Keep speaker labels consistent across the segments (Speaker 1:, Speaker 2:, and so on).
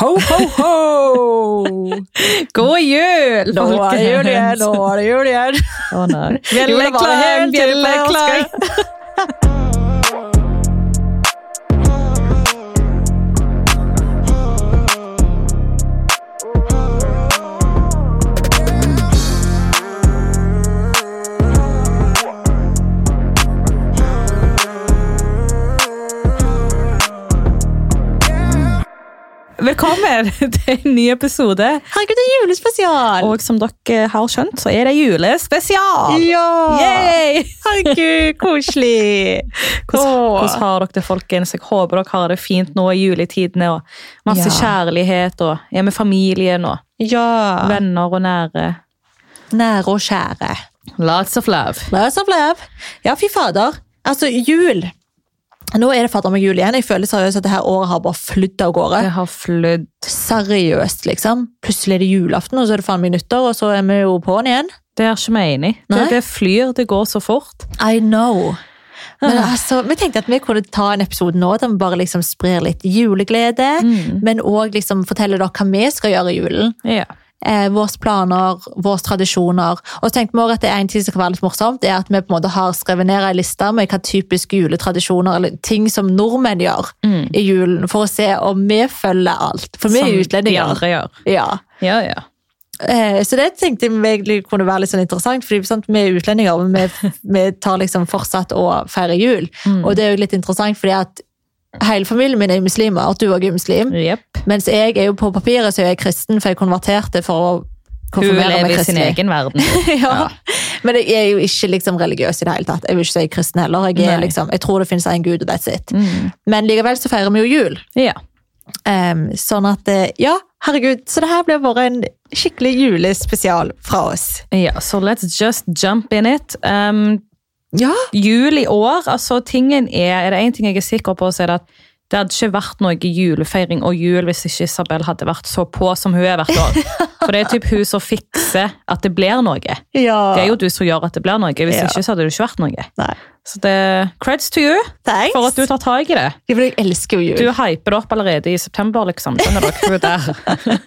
Speaker 1: Ho, ho, ho!
Speaker 2: God jul!
Speaker 1: Nå er det jul igjen, nå er det jul igjen.
Speaker 2: Å
Speaker 1: Jola
Speaker 2: nei.
Speaker 1: var
Speaker 2: Bjelleklang,
Speaker 1: helt til
Speaker 2: bjelleklang. Velkommen til en ny episode.
Speaker 1: Herregud, det er julespesial!
Speaker 2: Og som dere har skjønt, så er det julespesial!
Speaker 1: ja!
Speaker 2: Yay!
Speaker 1: Herregud, koselig!
Speaker 2: Hvordan,
Speaker 1: Åh.
Speaker 2: hvordan har dere det, folkens? Jeg håper dere har det fint nå i juletidene. og Masse
Speaker 1: Ja.
Speaker 2: kjærlighet og er med familien og
Speaker 1: Ja.
Speaker 2: venner og nære.
Speaker 1: Nære og kjære.
Speaker 2: Lots of love.
Speaker 1: Lots of love. Ja, fy fader. Altså, jul. Nå er det fader meg jul igjen. Jeg føler seriøst at det her året har bare flydd av gårde.
Speaker 2: Det har flydd.
Speaker 1: Seriøst, liksom. Plutselig er det julaften, og så er det faen meg nyttår, og så er vi jo på'n igjen.
Speaker 2: Det er ikke vi enig i. Det,
Speaker 1: Nei.
Speaker 2: det flyr, det går så fort.
Speaker 1: I know. Men
Speaker 2: Ah.
Speaker 1: altså, vi tenkte at vi kunne ta en episode nå der vi bare liksom sprer litt juleglede.
Speaker 2: Mm.
Speaker 1: Men òg liksom forteller dere hva vi skal gjøre i julen.
Speaker 2: Ja.
Speaker 1: Eh, våre planer, våre tradisjoner. Og så tenkte vi også at det er en ting som kan være litt morsomt, det er at vi på en måte har skrevet ned en liste med hva typiske juletradisjoner eller ting som nordmenn gjør
Speaker 2: Mm.
Speaker 1: i julen, for å se om vi følger alt. For vi er
Speaker 2: Som De
Speaker 1: utlendinger.
Speaker 2: andre gjør.
Speaker 1: Ja.
Speaker 2: Ja, ja.
Speaker 1: Eh, Så det tenkte jeg egentlig kunne være litt sånn interessant, fordi sant, vi er utlendinger, men vi, vi tar liksom fortsatt å feire jul.
Speaker 2: Mm.
Speaker 1: Og det er jo litt interessant fordi at hele familien min er jo muslimer, og du også er muslim.
Speaker 2: Jepp.
Speaker 1: Mens jeg er jo på papiret så er jeg kristen, for jeg konverterte for å
Speaker 2: Hun
Speaker 1: konfirmere
Speaker 2: lever
Speaker 1: meg
Speaker 2: i sin
Speaker 1: kristelig.
Speaker 2: egen verden.
Speaker 1: ja. Men jeg er jo ikke liksom religiøs i det hele tatt. Jeg vil ikke si kristen heller. Jeg, er
Speaker 2: Nei.
Speaker 1: liksom, jeg tror det finnes en gud, og that's it.
Speaker 2: Mm.
Speaker 1: Men likevel så feirer vi jo jul.
Speaker 2: Ja.
Speaker 1: Em, sånn at, eh, ja, herregud. Så det her blir bare en skikkelig julespesial fra oss.
Speaker 2: ja, så let's just jump in it. Um,
Speaker 1: Ja,
Speaker 2: jul i år, altså tingen er, er det en ting jeg er sikker på, så er det at det hadde ikke vært noe julefeiring og jul hvis ikke Isabel hadde vært så på som hun er hvert år. For det er typ hun som fikser at det blir noe. Det
Speaker 1: Ja.
Speaker 2: er jo du som gjør at det blir noe, hvis
Speaker 1: Ja.
Speaker 2: ikke så hadde det ikke vært noe.
Speaker 1: Nei.
Speaker 2: Så det creds to you
Speaker 1: Thanks.
Speaker 2: for at du tar tak i det.
Speaker 1: Ja, for jeg elsker jo jul.
Speaker 2: Du hyper det opp allerede i september, liksom. Skjønner dere? Hun der.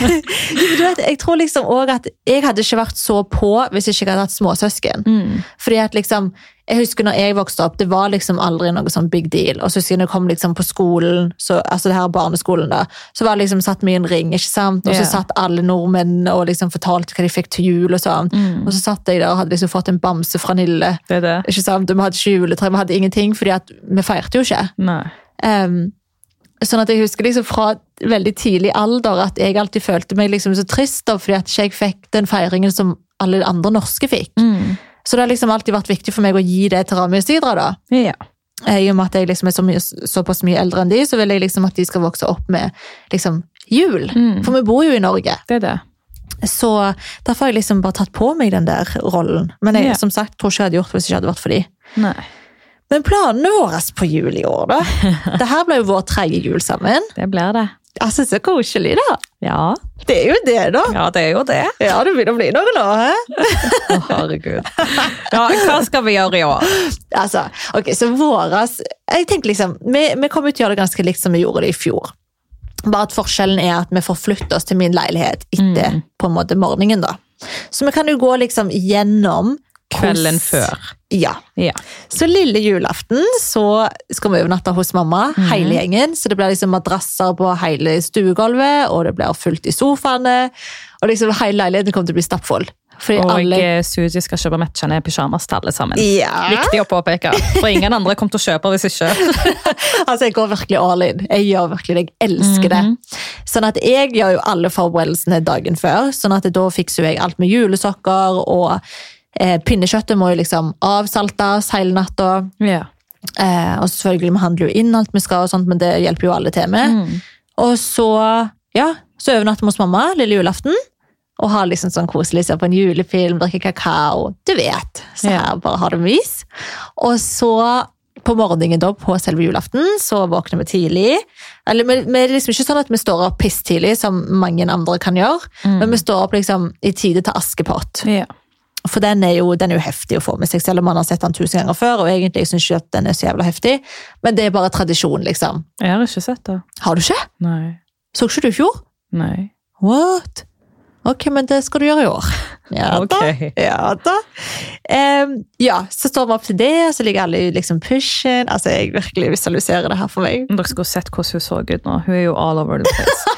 Speaker 1: Jo, men du vet, jeg tror liksom også at jeg hadde ikke vært så på hvis ikke jeg hadde hatt småsøsken.
Speaker 2: Mm.
Speaker 1: Fordi at liksom, jeg husker når jeg vokste opp, det var liksom aldri noe sånn big deal. Og så husker jeg når jeg kom liksom på skolen, så, altså det her er barneskolen da, så var det liksom satt mye en ring, ikke sant? Og
Speaker 2: Ja.
Speaker 1: så satt alle nordmenn og liksom fortalte hva de fikk til jul og sånn.
Speaker 2: Mm.
Speaker 1: Og så satt jeg der og hadde liksom fått en bamse fra Nille,
Speaker 2: Det er det.
Speaker 1: ikke sant? Og vi hadde ikke juletre, vi hadde ingenting, fordi at vi feirte jo ikke.
Speaker 2: Nei.
Speaker 1: Ehm, sånn at jeg husker liksom fra veldig tidlig alder at jeg alltid følte meg liksom så trist da, fordi at ikke jeg fikk den feiringen som alle andre norske fikk. Så det har liksom alltid vært viktig for meg å gi det til Rami og Sidra da.
Speaker 2: Ja.
Speaker 1: Eh, I og med at jeg liksom er så mye, såpass mye eldre enn de, så vil jeg liksom at de skal vokse opp med liksom jul. For vi bor jo i Norge.
Speaker 2: Det er det.
Speaker 1: Så derfor har jeg liksom bare tatt på meg den der rollen. Men jeg
Speaker 2: Ja.
Speaker 1: som sagt tror ikke jeg hadde gjort det hvis det ikke hadde vært for de.
Speaker 2: Nei.
Speaker 1: Men planene våre på jul i år da. Dette ble jo vår tredje jul sammen.
Speaker 2: Det blir det.
Speaker 1: Altså, så koselig, da.
Speaker 2: Ja.
Speaker 1: Det er jo det, da.
Speaker 2: Ja, det er jo det.
Speaker 1: Ja, det begynner å bli noe nå, hæ?
Speaker 2: Å, herregud. Ja, hva skal vi gjøre i år?
Speaker 1: Altså, ok, så våres Jeg tenker liksom, vi, vi kommer til å gjøre det ganske likt som vi gjorde det i fjor. Bare at forskjellen er at vi får flytte oss til min leilighet etter på en måte morgenen, da. Så vi kan jo gå liksom gjennom
Speaker 2: Kvelden
Speaker 1: hos-
Speaker 2: før.
Speaker 1: Ja.
Speaker 2: Ja.
Speaker 1: Så lille julaften så skal vi overnatte hos mamma, hele gjengen. Så det blir liksom madrasser på hele stuegulvet, og det blir fullt i sofaene. Og liksom hele leiligheten kommer til å bli stappfull. Fordi
Speaker 2: Og
Speaker 1: alle
Speaker 2: eh, Suzy skal kjøpe matchende pysjamas til alle sammen.
Speaker 1: Ja.
Speaker 2: Viktig å påpeke, for ingen andre kom til å kjøpe hvis ikke.
Speaker 1: Altså, jeg går virkelig all in. Jeg gjør virkelig det. Jeg elsker det. Sånn at jeg gjør jo alle forberedelsene dagen før, sånn at da fikser jo jeg alt med julesokker, og eh, pinnekjøttet må jo liksom avsaltes hele natta.
Speaker 2: Ja.
Speaker 1: Eh, og selvfølgelig, vi handler jo inn alt vi skal, og sånt, men det hjelper jo alle til med. Og så, ja, så overnatter vi hos mamma lille julaften. Og har liksom sånn koselig, ser på en julefilm, drikker kakao. Du vet. Så
Speaker 2: Ja.
Speaker 1: her bare har det mys. Og så på morgenen da, på selve julaften, så våkner vi tidlig. Eller vi, vi er liksom ikke sånn at vi står opp pisstidlig, som mange andre kan gjøre. Men vi står opp liksom i tide til Askepott.
Speaker 2: Ja.
Speaker 1: For den er, jo, den er jo heftig å få med seg, selv om man har sett den tusen ganger før. og egentlig jeg synes ikke at den er så jævla heftig, Men det er bare tradisjon, liksom.
Speaker 2: Jeg har ikke sett det.
Speaker 1: Har du ikke?
Speaker 2: Nei.
Speaker 1: Så ikke du i fjor?
Speaker 2: Nei.
Speaker 1: What? Ok, men det skal du gjøre i år. Ja da.
Speaker 2: Ok.
Speaker 1: Ja da. Em, ja, så står vi opp til det, og så ligger alle i liksom pushen. Altså, jeg virkelig visualiserer det her for meg.
Speaker 2: Dere skulle sett hvordan hun så ut nå. Hun er jo all over the place.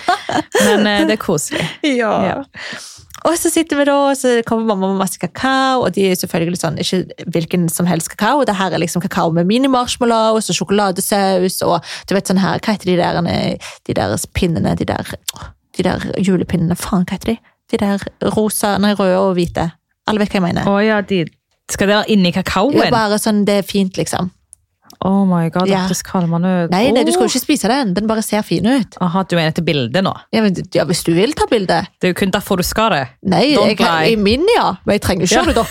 Speaker 2: Men eh, det er koselig. Ja.
Speaker 1: Og så sitter vi da, og så kommer mamma med masse kakao, og de er selvfølgelig sånn, ikke hvilken som helst kakao. Det her er liksom kakao med mini-marshmallows og sjokoladesaus og du vet sånn her, hva heter de der, eh, de der pinnene, de der, de der julepinnene, faen, hva heter de? De der rosa, nei, røde og hvite. Alle vet hva jeg mener.
Speaker 2: Å ja, de Skal det være inni
Speaker 1: Det er
Speaker 2: kakaoen?
Speaker 1: bare sånn, det er fint liksom.
Speaker 2: Oh my god,
Speaker 1: Ja.
Speaker 2: dette skal man jo
Speaker 1: Nei, nei, du skal
Speaker 2: Åh.
Speaker 1: jo ikke spise den, den bare ser fin ut.
Speaker 2: Aha, du mener til bildet nå?
Speaker 1: Ja, men, ja hvis du vil ta bildet.
Speaker 2: Det er jo kun derfor du skal det.
Speaker 1: Nei,
Speaker 2: Don't
Speaker 1: jeg, kan- i
Speaker 2: lie.
Speaker 1: min ja, men jeg trenger jo ikke
Speaker 2: Ja.
Speaker 1: gjøre det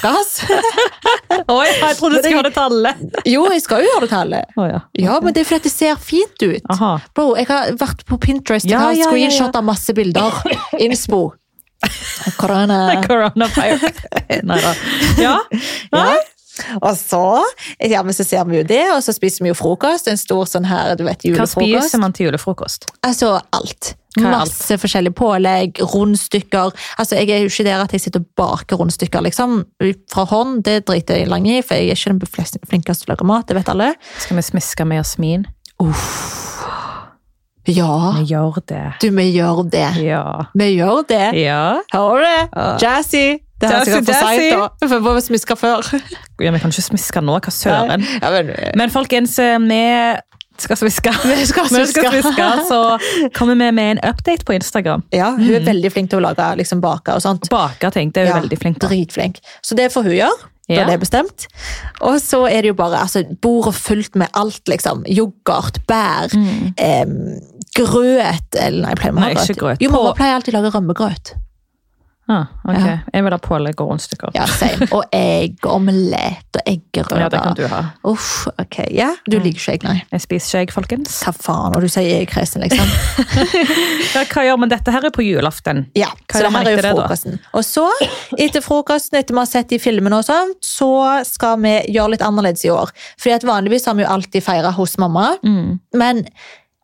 Speaker 1: deres.
Speaker 2: Oi, jeg
Speaker 1: Men
Speaker 2: trodde du
Speaker 1: det-
Speaker 2: skulle ha det til alle.
Speaker 1: Jo, jeg skal jo gjøre det til alle.
Speaker 2: Å ja.
Speaker 1: Ja, men det er fordi at det ser fint ut.
Speaker 2: Aha.
Speaker 1: Bro, jeg har vært på Pinterest og
Speaker 2: Ja,
Speaker 1: har
Speaker 2: ja, ja, ja.
Speaker 1: screenshot av masse bilder. Innspo. Korona.
Speaker 2: Coronavirus. Nei da. Ja.
Speaker 1: Ja. Og så, ja, men så ser vi jo det, og så spiser vi jo frokost. En stor sånn her, du vet,
Speaker 2: Hva spiser
Speaker 1: julefrokost.
Speaker 2: man til julefrokost?
Speaker 1: Altså alt.
Speaker 2: Hva er alt?
Speaker 1: Masse forskjellige pålegg, rundstykker. Altså, jeg er jo ikke der at jeg sitter og baker rundstykker, liksom. Fra hånd, det driter jeg lang i, for jeg er ikke den flest- flinkeste til å lage mat, det vet alle.
Speaker 2: Skal vi smiske med jasmin?
Speaker 1: Ja,
Speaker 2: Vi gjør det.
Speaker 1: du, vi gjør det.
Speaker 2: Ah. Ja.
Speaker 1: Vi gjør det.
Speaker 2: Ja.
Speaker 1: Hører du det?
Speaker 2: Ja.
Speaker 1: Jazzy. Det her er
Speaker 2: Jazzy,
Speaker 1: sikkert for
Speaker 2: jazzy.
Speaker 1: seint, da. For jeg var smiska før.
Speaker 2: ja vi kan ikke smiske nå, hva søren.
Speaker 1: Ja, men,
Speaker 2: Men folkens, eh, vi skal smiske. Vi
Speaker 1: skal smiske.
Speaker 2: så kommer vi med en update på Instagram.
Speaker 1: ja, hun er veldig flink til å lage liksom, baker og sånt.
Speaker 2: Bake ting, det er hun
Speaker 1: Ja,
Speaker 2: veldig flink til.
Speaker 1: Dritflink. Så det får hun gjøre. Da
Speaker 2: Ja.
Speaker 1: det er bestemt. Og så er det jo bare altså, bordet fullt med alt, liksom. Yoghurt, bær, em, grøt Eller Mm. nei, jeg pleier
Speaker 2: Nei,
Speaker 1: med å ha
Speaker 2: ikke grøt.
Speaker 1: Jo, mamma
Speaker 2: På-
Speaker 1: pleier alltid å lage rømmegrøt.
Speaker 2: Ah, ok.
Speaker 1: Ja.
Speaker 2: Jeg vil ha pålegg og rundstykker.
Speaker 1: Ja, same. Og egg, og omelett og eggerøre.
Speaker 2: Ja, det kan du ha.
Speaker 1: Uff, ok. Ja, du liker ikke egg, nei.
Speaker 2: Jeg spiser ikke egg, folkens.
Speaker 1: Hva faen, og du sier jeg er kresen, liksom.
Speaker 2: Ja, hva gjør man? Dette her er på julaften.
Speaker 1: Ja,
Speaker 2: Hva
Speaker 1: så
Speaker 2: er
Speaker 1: det
Speaker 2: det man
Speaker 1: her er jo
Speaker 2: heter det, da?
Speaker 1: frokosten. Og så, etter frokosten, etter vi har sett de filmene og sånt, så skal vi gjøre litt annerledes i år. Fordi at vanligvis har vi jo alltid feira hos mamma,
Speaker 2: Mm.
Speaker 1: men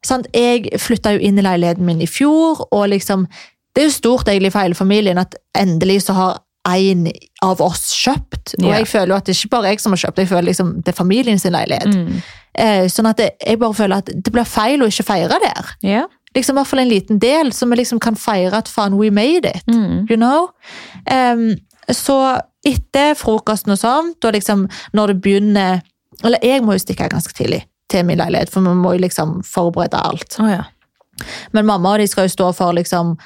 Speaker 1: sant, jeg flytta jo inn i leiligheten min i fjor, og liksom Det er jo stort egentlig for hele familien at endelig så har en av oss kjøpt. Og
Speaker 2: Ja.
Speaker 1: jeg føler jo at det er ikke bare jeg som har kjøpt, jeg føler liksom det er familien sin leilighet.
Speaker 2: Mm.
Speaker 1: Eh, Sånn at det- jeg bare føler at det blir feil å ikke feire der
Speaker 2: Ja.
Speaker 1: liksom, i hvert fall en liten del, så vi liksom kan feire at faen, we made it.
Speaker 2: Mm.
Speaker 1: You know? Em, så etter frokosten og sånt, og liksom når det begynner Eller jeg må jo stikke her ganske tidlig til min leilighet, for vi må jo liksom forberede alt.
Speaker 2: Å, ja.
Speaker 1: Men mamma og de skal jo stå for liksom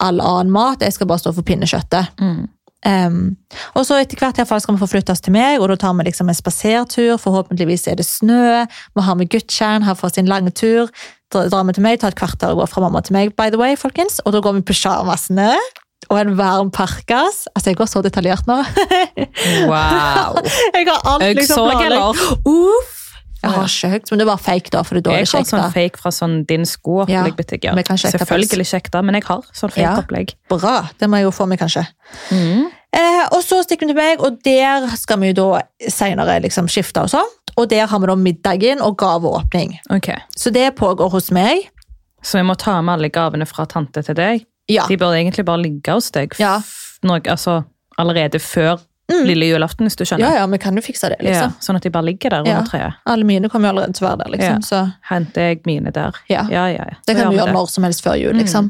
Speaker 1: all annen mat, jeg skal bare stå for pinnekjøttet.
Speaker 2: Mm.
Speaker 1: Em, og så etter hvert i hvert fall skal vi forflyttes til meg, og da tar vi liksom en spasertur. Forhåpentligvis er det snø. Vi har med guttkjern her for sin lange tur. Dra- Drar vi til meg, tar et kvarter og går fra mamma til meg, by the way, folkens. Og da går vi på sjarmasene. Og en varm parkas. Altså, jeg går så detaljert nå.
Speaker 2: Wow.
Speaker 1: Jeg har alt liksom
Speaker 2: Øgsorg,
Speaker 1: planlagt.
Speaker 2: eller?
Speaker 1: Uff! Jeg har ikke høyt, men det var fake, da. For det er dårlig
Speaker 2: Jeg har
Speaker 1: kjekt,
Speaker 2: sånn
Speaker 1: da.
Speaker 2: fake fra sånn din sko
Speaker 1: Ja,
Speaker 2: opplegg butikk, ja.
Speaker 1: men kanskje ekte
Speaker 2: Selvfølgelig kjekt da, men jeg har sånn fake
Speaker 1: Ja.
Speaker 2: opplegg.
Speaker 1: Bra. Det må jeg jo få meg, kanskje.
Speaker 2: Mm.
Speaker 1: Eh, og så stikker vi til meg, og der skal vi jo da senere liksom skifte og sånt. Og der har vi da middagen og gaveåpning.
Speaker 2: Ok,
Speaker 1: Så det pågår hos meg.
Speaker 2: så vi må ta med alle gavene fra tante til deg.
Speaker 1: Ja.
Speaker 2: De burde egentlig bare ligge hos deg f-
Speaker 1: Ja. Mm.
Speaker 2: noe, altså, allerede før lille julaften, hvis du
Speaker 1: ja,
Speaker 2: skjønner.
Speaker 1: ja, vi kan jo fikse det, liksom.
Speaker 2: Ja, sånn at de bare ligger der under
Speaker 1: Ja.
Speaker 2: treet.
Speaker 1: Alle mine kommer jo allerede til å være der, liksom.
Speaker 2: Ja.
Speaker 1: Så
Speaker 2: Henter jeg mine der.
Speaker 1: Ja.
Speaker 2: ja, ja. ja.
Speaker 1: det
Speaker 2: Da
Speaker 1: kan vi
Speaker 2: vi
Speaker 1: gjøre når som helst før jul, liksom.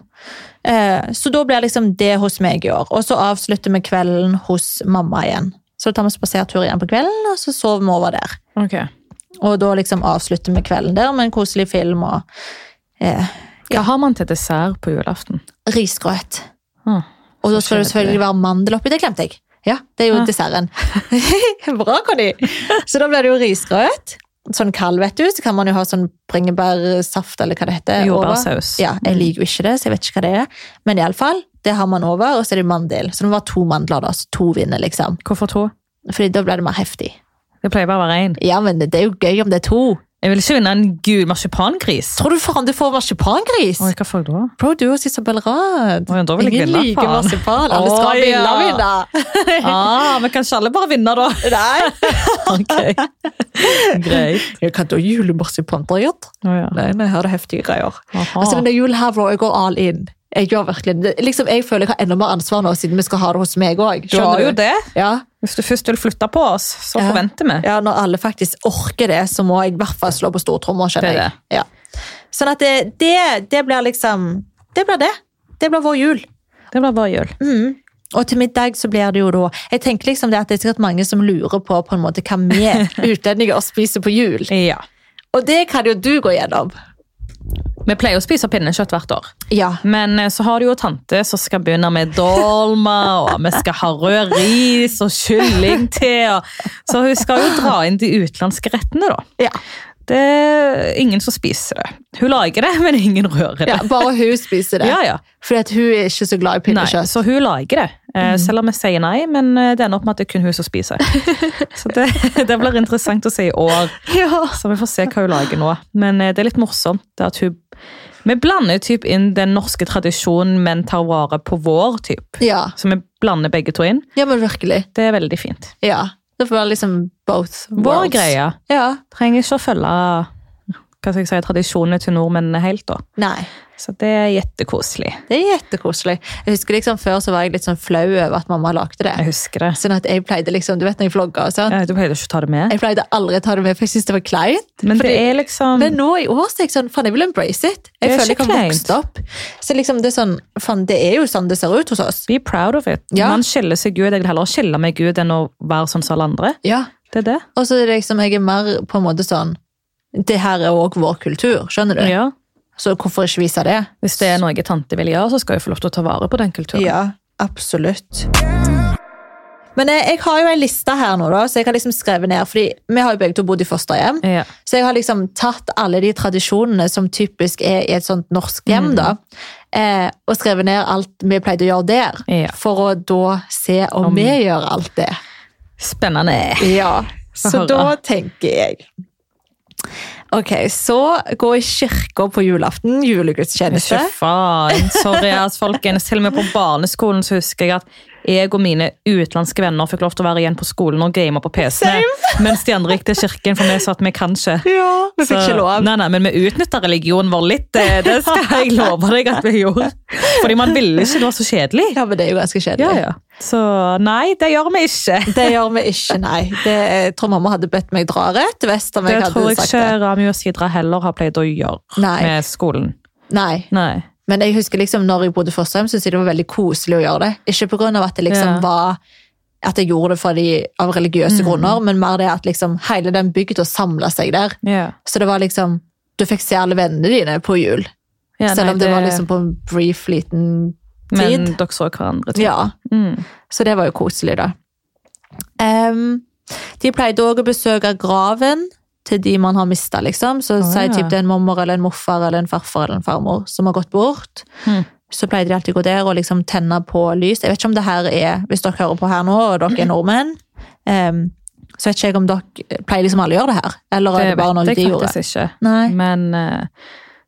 Speaker 1: Eh, så da blir liksom det hos meg i år. Og så avslutter vi kvelden hos mamma igjen. Så da tar vi spasertur igjen på kvelden, og så sover vi over der.
Speaker 2: Ok.
Speaker 1: Og da liksom avslutter vi kvelden der med en koselig film og eh,
Speaker 2: Hva har man til dessert på julaften?
Speaker 1: risgrøt.
Speaker 2: Ah,
Speaker 1: Og da
Speaker 2: så
Speaker 1: skal det selvfølgelig
Speaker 2: kjedelig.
Speaker 1: være mandel oppi. Det glemte jeg. Ja, Det er jo
Speaker 2: Ja.
Speaker 1: desserten. Bra, Conny! Så da blir det jo risgrøt. Sånn kald, vet du. Så kan man jo ha sånn bringebærsaft eller hva det heter. over. Eh,
Speaker 2: Jordbærsaus. Mm.
Speaker 1: Ja, jeg liker jo ikke det, så jeg vet ikke hva det er. Men iallfall, det har man over, og så er det mandel. Så det må være to mandler, da. Så to vinner, liksom.
Speaker 2: Hvorfor to?
Speaker 1: Fordi da blir det mer heftig.
Speaker 2: Det pleier bare å være en.
Speaker 1: Ja, men det er jo gøy om det er to.
Speaker 2: Jeg vil ikke vinne en gul marsipangris.
Speaker 1: Tror du faen du får marsipangris?
Speaker 2: Oi, hva får jeg da?
Speaker 1: Bro, du og Isabel Rad.
Speaker 2: Oi, da vil jeg
Speaker 1: Ingen
Speaker 2: vinne,
Speaker 1: liker
Speaker 2: faen.
Speaker 1: marsipan. Alle
Speaker 2: Å,
Speaker 1: skal
Speaker 2: ja.
Speaker 1: vinne, vinne.
Speaker 2: Ah, men kanskje alle bare vinner, da?
Speaker 1: Nei.
Speaker 2: Ok, greit.
Speaker 1: Jeg kan da julemarsipanbrød.
Speaker 2: Å ja.
Speaker 1: Nei, nei, her er det heftige greier.
Speaker 2: Aha.
Speaker 1: Altså, denne julen her, bro, jeg går all in. Jeg gjør virkelig det. Liksom, jeg føler jeg har enda mer ansvar nå, siden vi skal ha det hos meg òg.
Speaker 2: du har jo det.
Speaker 1: Ja.
Speaker 2: Hvis du først vil flytte på oss, så
Speaker 1: Ja.
Speaker 2: forventer vi.
Speaker 1: ja, når alle faktisk orker det, så må jeg i hvert fall slå på stortromma,
Speaker 2: Det
Speaker 1: skjønner
Speaker 2: er
Speaker 1: jeg. Ja. Sånn at det, det, det blir liksom Det blir det. Det blir vår jul.
Speaker 2: Det blir bare jul.
Speaker 1: Mm. Og til middag så blir det jo da Jeg tenker liksom det at det er sikkert mange som lurer på på en måte hva vi utlendinger spiser på jul.
Speaker 2: Ja.
Speaker 1: Og det kan jo du gå gjennom.
Speaker 2: Vi pleier å spise pinnekjøtt hvert år.
Speaker 1: Ja.
Speaker 2: Men eh, så har du jo tante som skal begynne med dolma, og vi skal ha rød ris og kylling til. Og... Så hun skal jo dra inn de utenlandske rettene, da.
Speaker 1: ja.
Speaker 2: Det er ingen som spiser det. Hun lager det, men ingen rører det.
Speaker 1: ja bare hun spiser det.
Speaker 2: Ja, ja.
Speaker 1: Fordi at hun er ikke så glad i
Speaker 2: Nei,
Speaker 1: pinnekjøtt.
Speaker 2: så hun lager det. Eh, Selv om vi sier nei, men eh, det ender opp med at det er kun hun som spiser. Så det, det blir interessant å se i år.
Speaker 1: Ja.
Speaker 2: Så vi får se hva hun lager nå. Men eh, det er litt morsomt det at hun Vi blander typ inn den norske tradisjonen, men tar vare på vår typ.
Speaker 1: Ja.
Speaker 2: Så vi blander begge to inn.
Speaker 1: ja, men virkelig.
Speaker 2: Det er veldig fint.
Speaker 1: Ja. Det får være liksom both
Speaker 2: Vår
Speaker 1: worlds.
Speaker 2: greie.
Speaker 1: Ja.
Speaker 2: Trenger ikke å følge hva skal jeg si, tradisjonene til nordmennene helt, da.
Speaker 1: Nei.
Speaker 2: Så det er jettekoselig.
Speaker 1: Det er jettekoselig. Jeg husker liksom Før så var jeg litt sånn flau over at mamma lagde det.
Speaker 2: Jeg husker det.
Speaker 1: Sånn at jeg pleide liksom, Du vet når jeg vlogger og sånn.
Speaker 2: Eh, Du pleide ikke å ta det med.
Speaker 1: Jeg pleide aldri å ta det med, for jeg syntes det var kleint.
Speaker 2: Men det
Speaker 1: Fordi-
Speaker 2: er liksom
Speaker 1: Men nå i år så er jeg sånn, faen, jeg vil embrace it. Jeg
Speaker 2: Det er
Speaker 1: føler jeg
Speaker 2: ikke
Speaker 1: har vokst opp. Så liksom, det er sånn, faen, det er jo sånn det ser ut hos oss.
Speaker 2: Be proud of it.
Speaker 1: Ja.
Speaker 2: Man skiller seg ut. Jeg vil heller skille meg ut enn å være sånn som alle andre.
Speaker 1: Ja.
Speaker 2: Det er det.
Speaker 1: Og så er det liksom, jeg er mer på en måte sånn, det her er også vår kultur, skjønner du?
Speaker 2: Ja.
Speaker 1: Så hvorfor ikke vise det?
Speaker 2: Hvis det er noe tante vil gjøre, så skal jeg få lov til å ta vare på den kulturen.
Speaker 1: Ja, absolutt. Men jeg, jeg har jo en liste her nå da, så jeg har liksom skrevet ned, fordi vi har jo begge to bodd i fosterhjem.
Speaker 2: Ja.
Speaker 1: Så jeg har liksom tatt alle de tradisjonene som typisk er i et sånt norsk hjem, da, eh, og skrevet ned alt vi pleide å gjøre der,
Speaker 2: Ja.
Speaker 1: for å da se om,
Speaker 2: Om-
Speaker 1: vi gjør alt det.
Speaker 2: Spennende.
Speaker 1: Ja, Så
Speaker 2: Få høre.
Speaker 1: da tenker jeg Ok, så gå i kirka på julaften,
Speaker 2: Ikke
Speaker 1: julegudstjeneste.
Speaker 2: faen. Sorry, ass, folkens. Til og med på barneskolen så husker jeg at jeg og mine utenlandske venner fikk lov til å være igjen på skolen og game på PC-ene, mens de andre gikk til kirken, for vi sa at vi kan ikke.
Speaker 1: Ja, vi fikk
Speaker 2: Så-
Speaker 1: ikke lov.
Speaker 2: Nei, nei, men vi utnytta religionen vår litt. eh, Det skal jeg love deg at vi gjorde. Fordi man ville ikke. Det var så kjedelig.
Speaker 1: Ja, men det er jo ganske kjedelig.
Speaker 2: Ja, ja. Så nei, det gjør vi ikke.
Speaker 1: Det gjør vi ikke, nei. Det, jeg tror mamma hadde bedt meg dra rett vest om
Speaker 2: Det
Speaker 1: jeg
Speaker 2: tror
Speaker 1: hadde
Speaker 2: jeg
Speaker 1: sagt
Speaker 2: ikke Rami og Sidra heller har pleid å gjøre
Speaker 1: Nei.
Speaker 2: med skolen.
Speaker 1: det. Nei.
Speaker 2: Nei.
Speaker 1: Men jeg husker liksom når jeg bodde fosterhjem, syntes jeg det var veldig koselig å gjøre det. Ikke på grunn av at det liksom
Speaker 2: Ja. Mm.
Speaker 1: var at jeg gjorde det fordi, av religiøse grunner, men mer det at liksom hele den bygda samla seg der.
Speaker 2: Ja.
Speaker 1: Så det var liksom Du fikk se alle vennene dine på jul,
Speaker 2: Ja,
Speaker 1: selv
Speaker 2: nei,
Speaker 1: om det, var liksom på en brief liten
Speaker 2: Men
Speaker 1: tid.
Speaker 2: dere så hverandre. til.
Speaker 1: Ja.
Speaker 2: Mm.
Speaker 1: Så det var jo koselig, da. Em, de pleide òg å besøke graven til de man har mista, liksom. Så
Speaker 2: Å,
Speaker 1: sier
Speaker 2: ja.
Speaker 1: typ det er en mormor eller en morfar eller en farfar eller en farmor som har gått bort.
Speaker 2: Mhm.
Speaker 1: Så pleide de alltid å gå der og liksom tenne på lys. Jeg vet ikke om det her er Hvis dere hører på her nå, og dere er nordmenn, em, så vet ikke jeg om dere Pleier liksom alle å gjøre det her? Eller er det,
Speaker 2: Det
Speaker 1: bare noe
Speaker 2: vet
Speaker 1: de
Speaker 2: jeg
Speaker 1: gjorde?
Speaker 2: faktisk ikke.
Speaker 1: Nei.
Speaker 2: Men eh,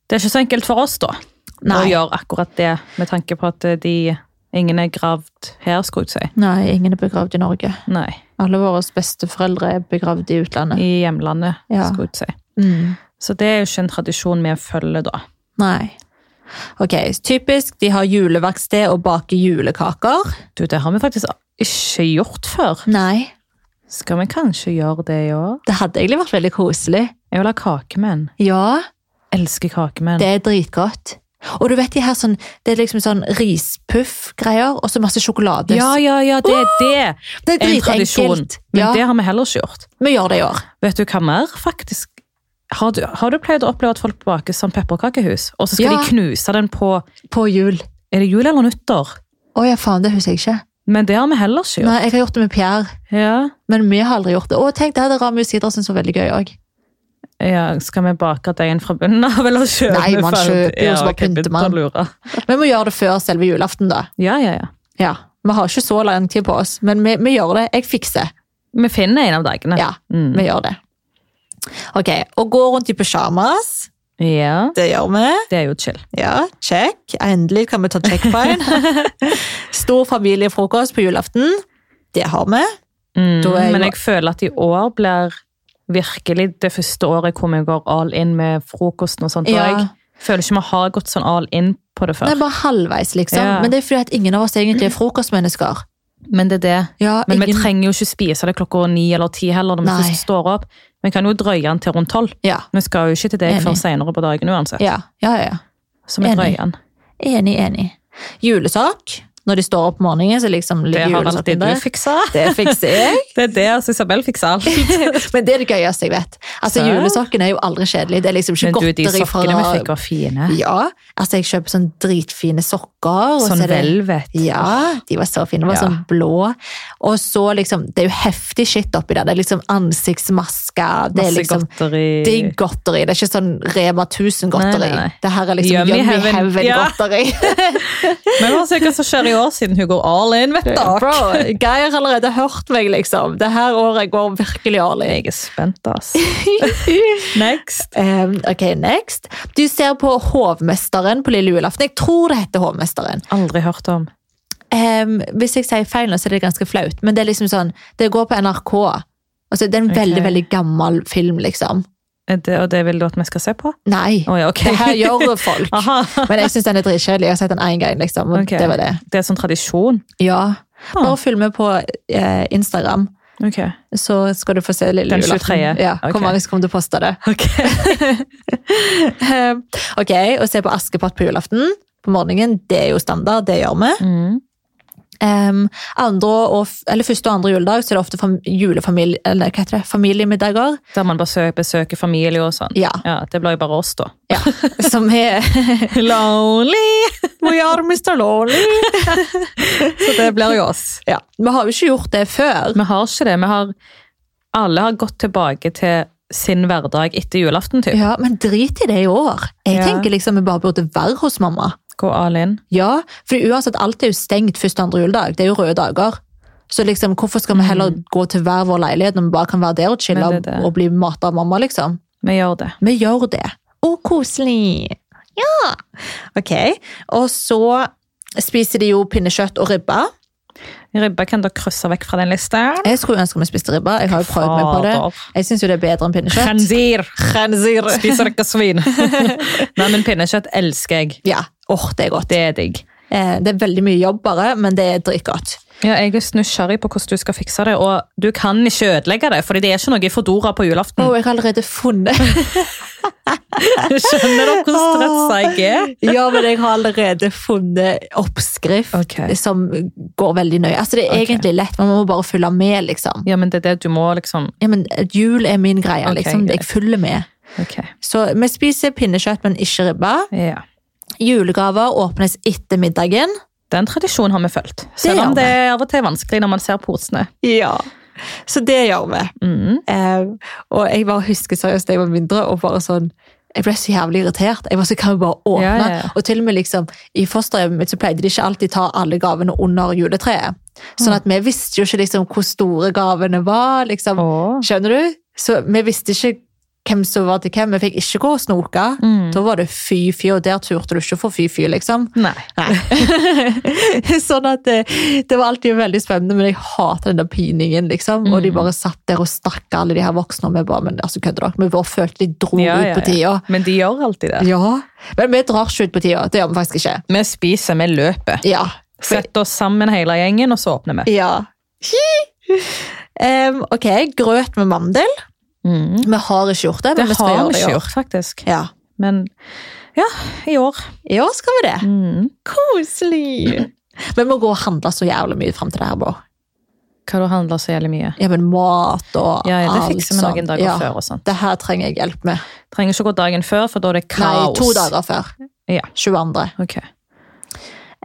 Speaker 2: det er ikke så enkelt for oss, da, å
Speaker 1: Nei.
Speaker 2: gjøre akkurat det, med tanke på at eh, de Ingen er gravd her, skulle jeg si.
Speaker 1: Nei, ingen er begravd i Norge.
Speaker 2: Nei,
Speaker 1: Alle våre besteforeldre er begravd i utlandet.
Speaker 2: i hjemlandet,
Speaker 1: Ja.
Speaker 2: skulle jeg si.
Speaker 1: Mm.
Speaker 2: Så det er jo ikke en tradisjon vi følger, da.
Speaker 1: Nei. Ok, typisk. De har juleverksted og baker julekaker.
Speaker 2: Du, det har vi faktisk ikke gjort før.
Speaker 1: Nei.
Speaker 2: Skal vi kanskje gjøre det i år?
Speaker 1: Det hadde egentlig vært veldig koselig.
Speaker 2: Jeg vil ha kakemenn.
Speaker 1: Ja,
Speaker 2: Elsker kakemenn.
Speaker 1: det er dritgodt. Og du vet de her sånn, det er liksom sånn rispuff-greier, og så masse sjokolade.
Speaker 2: Ja, ja, ja, det er det!
Speaker 1: det er
Speaker 2: En tradisjon.
Speaker 1: dritenkelt.
Speaker 2: Men
Speaker 1: Ja,
Speaker 2: det har vi heller ikke gjort.
Speaker 1: vi gjør det i år.
Speaker 2: Vet du hva mer, faktisk? Har du, har du pleid å oppleve at folk baker sånn pepperkakehus, og så skal
Speaker 1: Ja.
Speaker 2: de knuse den på
Speaker 1: På jul.
Speaker 2: Er det jul eller nyttår?
Speaker 1: Å ja, faen, det husker jeg ikke.
Speaker 2: Men det har vi heller ikke gjort.
Speaker 1: Nei, jeg har gjort det med Pierre,
Speaker 2: Ja.
Speaker 1: men vi har aldri gjort det. Å, tenk, det hadde Rami Sidra syntes var veldig gøy òg.
Speaker 2: ja, Skal vi bake deigen fra bunnen av, eller kjøper
Speaker 1: Nei,
Speaker 2: vi
Speaker 1: man
Speaker 2: ferdig?
Speaker 1: kjøper jo, så bare
Speaker 2: ok, begynte
Speaker 1: pynter man.
Speaker 2: å lure.
Speaker 1: Vi må gjøre det før selve julaften, da.
Speaker 2: Ja, ja, ja.
Speaker 1: Ja, Vi har ikke så lang tid på oss, men vi, vi gjør det. Jeg fikser.
Speaker 2: Vi finner en av dagene.
Speaker 1: Ja,
Speaker 2: Mm.
Speaker 1: Vi gjør det. Ok, Å gå rundt i pysjamas,
Speaker 2: Ja,
Speaker 1: det gjør vi.
Speaker 2: det er jo chill.
Speaker 1: Ja, check. Endelig kan vi ta checkpoint. Stor familiefrokost på julaften. Det har vi.
Speaker 2: Mm,
Speaker 1: Da er jo-
Speaker 2: men jeg føler at i år blir virkelig det første året hvor vi går all in med frokosten og sånt. Og
Speaker 1: Ja.
Speaker 2: jeg føler ikke vi har gått sånn all in på det
Speaker 1: Nei,
Speaker 2: før.
Speaker 1: bare halvveis, liksom.
Speaker 2: Ja.
Speaker 1: Men det er fordi at ingen av oss egentlig er frokostmennesker.
Speaker 2: Men det er det.
Speaker 1: Ja,
Speaker 2: Men vi
Speaker 1: ingen...
Speaker 2: trenger jo ikke spise det klokka ni eller ti heller når vi
Speaker 1: Nei.
Speaker 2: først står opp. Vi kan jo drøye den til rundt tolv.
Speaker 1: ja.
Speaker 2: Vi skal jo ikke til deg
Speaker 1: Enig.
Speaker 2: før senere på dagen uansett.
Speaker 1: Ja. ja, ja, ja.
Speaker 2: Så vi
Speaker 1: Enig.
Speaker 2: drøyer den.
Speaker 1: Enig, enig. Julesak. Når de står opp om morgenen, så liksom
Speaker 2: Det
Speaker 1: ligger
Speaker 2: har
Speaker 1: julesaken
Speaker 2: alltid
Speaker 1: der.
Speaker 2: du fiksa.
Speaker 1: Det fikser jeg.
Speaker 2: Det er det altså, Isabel fikser alt.
Speaker 1: Men det er det gøyeste jeg vet. Altså,
Speaker 2: Hæ?
Speaker 1: Julesokken er jo aldri kjedelig. Det er liksom ikke
Speaker 2: Men du, de
Speaker 1: godteri fra
Speaker 2: sokkene vi fikk var fine.
Speaker 1: Ja, altså jeg kjøper sånn dritfine sokker. og
Speaker 2: Sånn
Speaker 1: så er det-
Speaker 2: velvet.
Speaker 1: Ja, de var så fine. De var
Speaker 2: Ja.
Speaker 1: sånn blå. Og så liksom, det er jo heftig shit oppi der. Det er liksom ansiktsmasker. Det er
Speaker 2: Masse
Speaker 1: liksom
Speaker 2: godteri.
Speaker 1: digg godteri. Det er ikke sånn Rema 1000-godteri.
Speaker 2: Nei, nei, nei.
Speaker 1: Det her er liksom
Speaker 2: Yummy
Speaker 1: Yummy
Speaker 2: Heaven. Ja.
Speaker 1: Heaven-godteri.
Speaker 2: Men hva sier hva som skjer i år siden hun går all in, vet du?
Speaker 1: Bro, Geir har allerede hørt meg, liksom. Det her året går virkelig årlig.
Speaker 2: Jeg er spent, ass. Next.
Speaker 1: Um, ok, next. Du ser på Hovmesteren på lille julaften. Jeg tror det heter Hovmesteren.
Speaker 2: Aldri hørt om.
Speaker 1: Ehm, hvis jeg sier feil nå, så er det ganske flaut, men det er liksom sånn, det går på NRK. Altså, det er en
Speaker 2: Ok.
Speaker 1: veldig, veldig gammel film, liksom.
Speaker 2: Er Det, og det vil du at vi skal se på?
Speaker 1: Nei,
Speaker 2: Å ja, ok.
Speaker 1: det her gjør folk.
Speaker 2: Aha.
Speaker 1: Men jeg synes den er dritkjedelig. Jeg har sett den en gang, liksom, og
Speaker 2: Ok.
Speaker 1: det var det.
Speaker 2: Det er sånn tradisjon.
Speaker 1: Ja.
Speaker 2: Ah.
Speaker 1: Bare følg med på eh, Instagram,
Speaker 2: Ok.
Speaker 1: så skal du få se lille
Speaker 2: Den
Speaker 1: julaften.
Speaker 2: 23..
Speaker 1: Ja, hvor
Speaker 2: Ok.
Speaker 1: mange som kommer til å poste det.
Speaker 2: Ok.
Speaker 1: Ehm, ok, og se på Askepott på julaften på morgenen, det er jo standard, det gjør vi.
Speaker 2: Mm.
Speaker 1: Ehm, andre og, f- eller første og andre juledag så er det ofte fam, julefamilie, eller hva heter det, familiemiddager.
Speaker 2: Der man besøker, besøker familie og sånn.
Speaker 1: Ja,
Speaker 2: Ja, det blir jo bare oss, da.
Speaker 1: ja. Som er
Speaker 2: Lonely!
Speaker 1: We are Mr. Lonely.
Speaker 2: Så det blir jo oss.
Speaker 1: Ja, vi har jo ikke gjort det før.
Speaker 2: Vi har ikke det. Vi har, alle har gått tilbake til sin hverdag etter julaften, typ.
Speaker 1: Ja, men drit i det i år. Jeg
Speaker 2: Ja.
Speaker 1: tenker liksom vi bare burde være hos mamma.
Speaker 2: Gå all in.
Speaker 1: Ja, for uansett alt er jo stengt første og andre juledag. Det er jo røde dager. Så liksom, hvorfor skal vi heller gå til hver vår leilighet når vi bare kan være der og chille
Speaker 2: Mm. Men det er det.
Speaker 1: og bli matet av mamma, liksom?
Speaker 2: Vi gjør det.
Speaker 1: Vi gjør det. Å, koselig! Ja! Ok. Og så spiser de jo pinnekjøtt og ribba.
Speaker 2: Ribba kan dere krysse vekk fra den lista.
Speaker 1: Jeg skulle ønske vi spiste ribba. Jeg har jo prøvd meg på det.
Speaker 2: Fader.
Speaker 1: Jeg syns jo det er bedre enn pinnekjøtt.
Speaker 2: Khanzir!
Speaker 1: Khanzir.
Speaker 2: Spiser dere svin? Nei, men pinnekjøtt elsker jeg.
Speaker 1: Ja. Åh, det er godt.
Speaker 2: Det er digg.
Speaker 1: Eh, Det er veldig mye jobb bare, men det er dritgodt.
Speaker 2: Ja, jeg er nysgjerrig på hvordan du skal fikse det, og du kan ikke ødelegge det, fordi det er ikke noe i Fodora
Speaker 1: Å,
Speaker 2: på julaften.
Speaker 1: jeg har allerede funnet
Speaker 2: Skjønner dere hvor stressa jeg er?
Speaker 1: Ja, men jeg har allerede funnet oppskrift
Speaker 2: Ok.
Speaker 1: som går veldig nøye. Altså, det er
Speaker 2: Ok.
Speaker 1: egentlig lett, men man må bare følge med, liksom.
Speaker 2: Ja, men det er det du må liksom...
Speaker 1: Ja, men eh, jul er min greie,
Speaker 2: Ok,
Speaker 1: liksom. Jeg
Speaker 2: greit.
Speaker 1: følger med.
Speaker 2: Ok,
Speaker 1: Så vi spiser pinnekjøtt, men ikke ribba.
Speaker 2: ja.
Speaker 1: Julegaver åpnes etter middagen.
Speaker 2: Den tradisjonen har vi følt. Selv
Speaker 1: gjør
Speaker 2: om
Speaker 1: vi.
Speaker 2: det er av og til vanskelig når man ser posene.
Speaker 1: Ja. Så det gjør vi.
Speaker 2: Mm.
Speaker 1: Eh, og jeg bare husker seriøst da jeg var mindre, og bare sånn jeg ble så jævlig irritert. Jeg var så, kan vi bare åpne?
Speaker 2: Ja, ja, ja.
Speaker 1: Og til og med liksom, I fosterhjemmet mitt så pleide de ikke alltid ta alle gavene under juletreet.
Speaker 2: Mm.
Speaker 1: Sånn at vi visste jo ikke liksom hvor store gavene var. liksom.
Speaker 2: Åh.
Speaker 1: Skjønner du? Så vi visste ikke hvem som var til hvem. Vi fikk ikke gå og snoke.
Speaker 2: Mm.
Speaker 1: Da var det fy-fy, og der turte du ikke å få fy-fy, liksom.
Speaker 2: Nei.
Speaker 1: sånn at det, det var alltid veldig spennende, men jeg hater den der piningen, liksom. Og
Speaker 2: Mm.
Speaker 1: de bare satt der og stakk alle de her voksne, og vi bare, men altså, kødder dere? Vi bare følte de dro
Speaker 2: Ja, ja,
Speaker 1: ut på
Speaker 2: ja.
Speaker 1: tida.
Speaker 2: Men de gjør alltid det.
Speaker 1: Ja. Men vi drar ikke ut på tida, det gjør vi faktisk ikke.
Speaker 2: Vi spiser, vi løper.
Speaker 1: Ja.
Speaker 2: Sett oss sammen hele gjengen, og så åpner vi.
Speaker 1: Ja. Em, ok, grøt med mandel.
Speaker 2: Mm.
Speaker 1: Vi har ikke gjort det,
Speaker 2: Det
Speaker 1: men vi skal
Speaker 2: har
Speaker 1: gjøre
Speaker 2: vi
Speaker 1: det i
Speaker 2: ikke
Speaker 1: år.
Speaker 2: gjort, faktisk.
Speaker 1: Ja.
Speaker 2: Men ja, i år.
Speaker 1: I år skal vi det.
Speaker 2: Mm.
Speaker 1: Koselig! Vi må gå og handle så jævlig mye frem til det her, bro.
Speaker 2: Hva du handler så jævlig mye.
Speaker 1: Ja, men mat og
Speaker 2: Ja, ja, det
Speaker 1: alt
Speaker 2: fikser vi
Speaker 1: sånn.
Speaker 2: noen dager
Speaker 1: Ja.
Speaker 2: før og sånn.
Speaker 1: Det her trenger jeg hjelp med.
Speaker 2: Trenger ikke gå dagen før, for da er det kaos.
Speaker 1: Nei, to dager før.
Speaker 2: Ja.
Speaker 1: 22.
Speaker 2: Ok.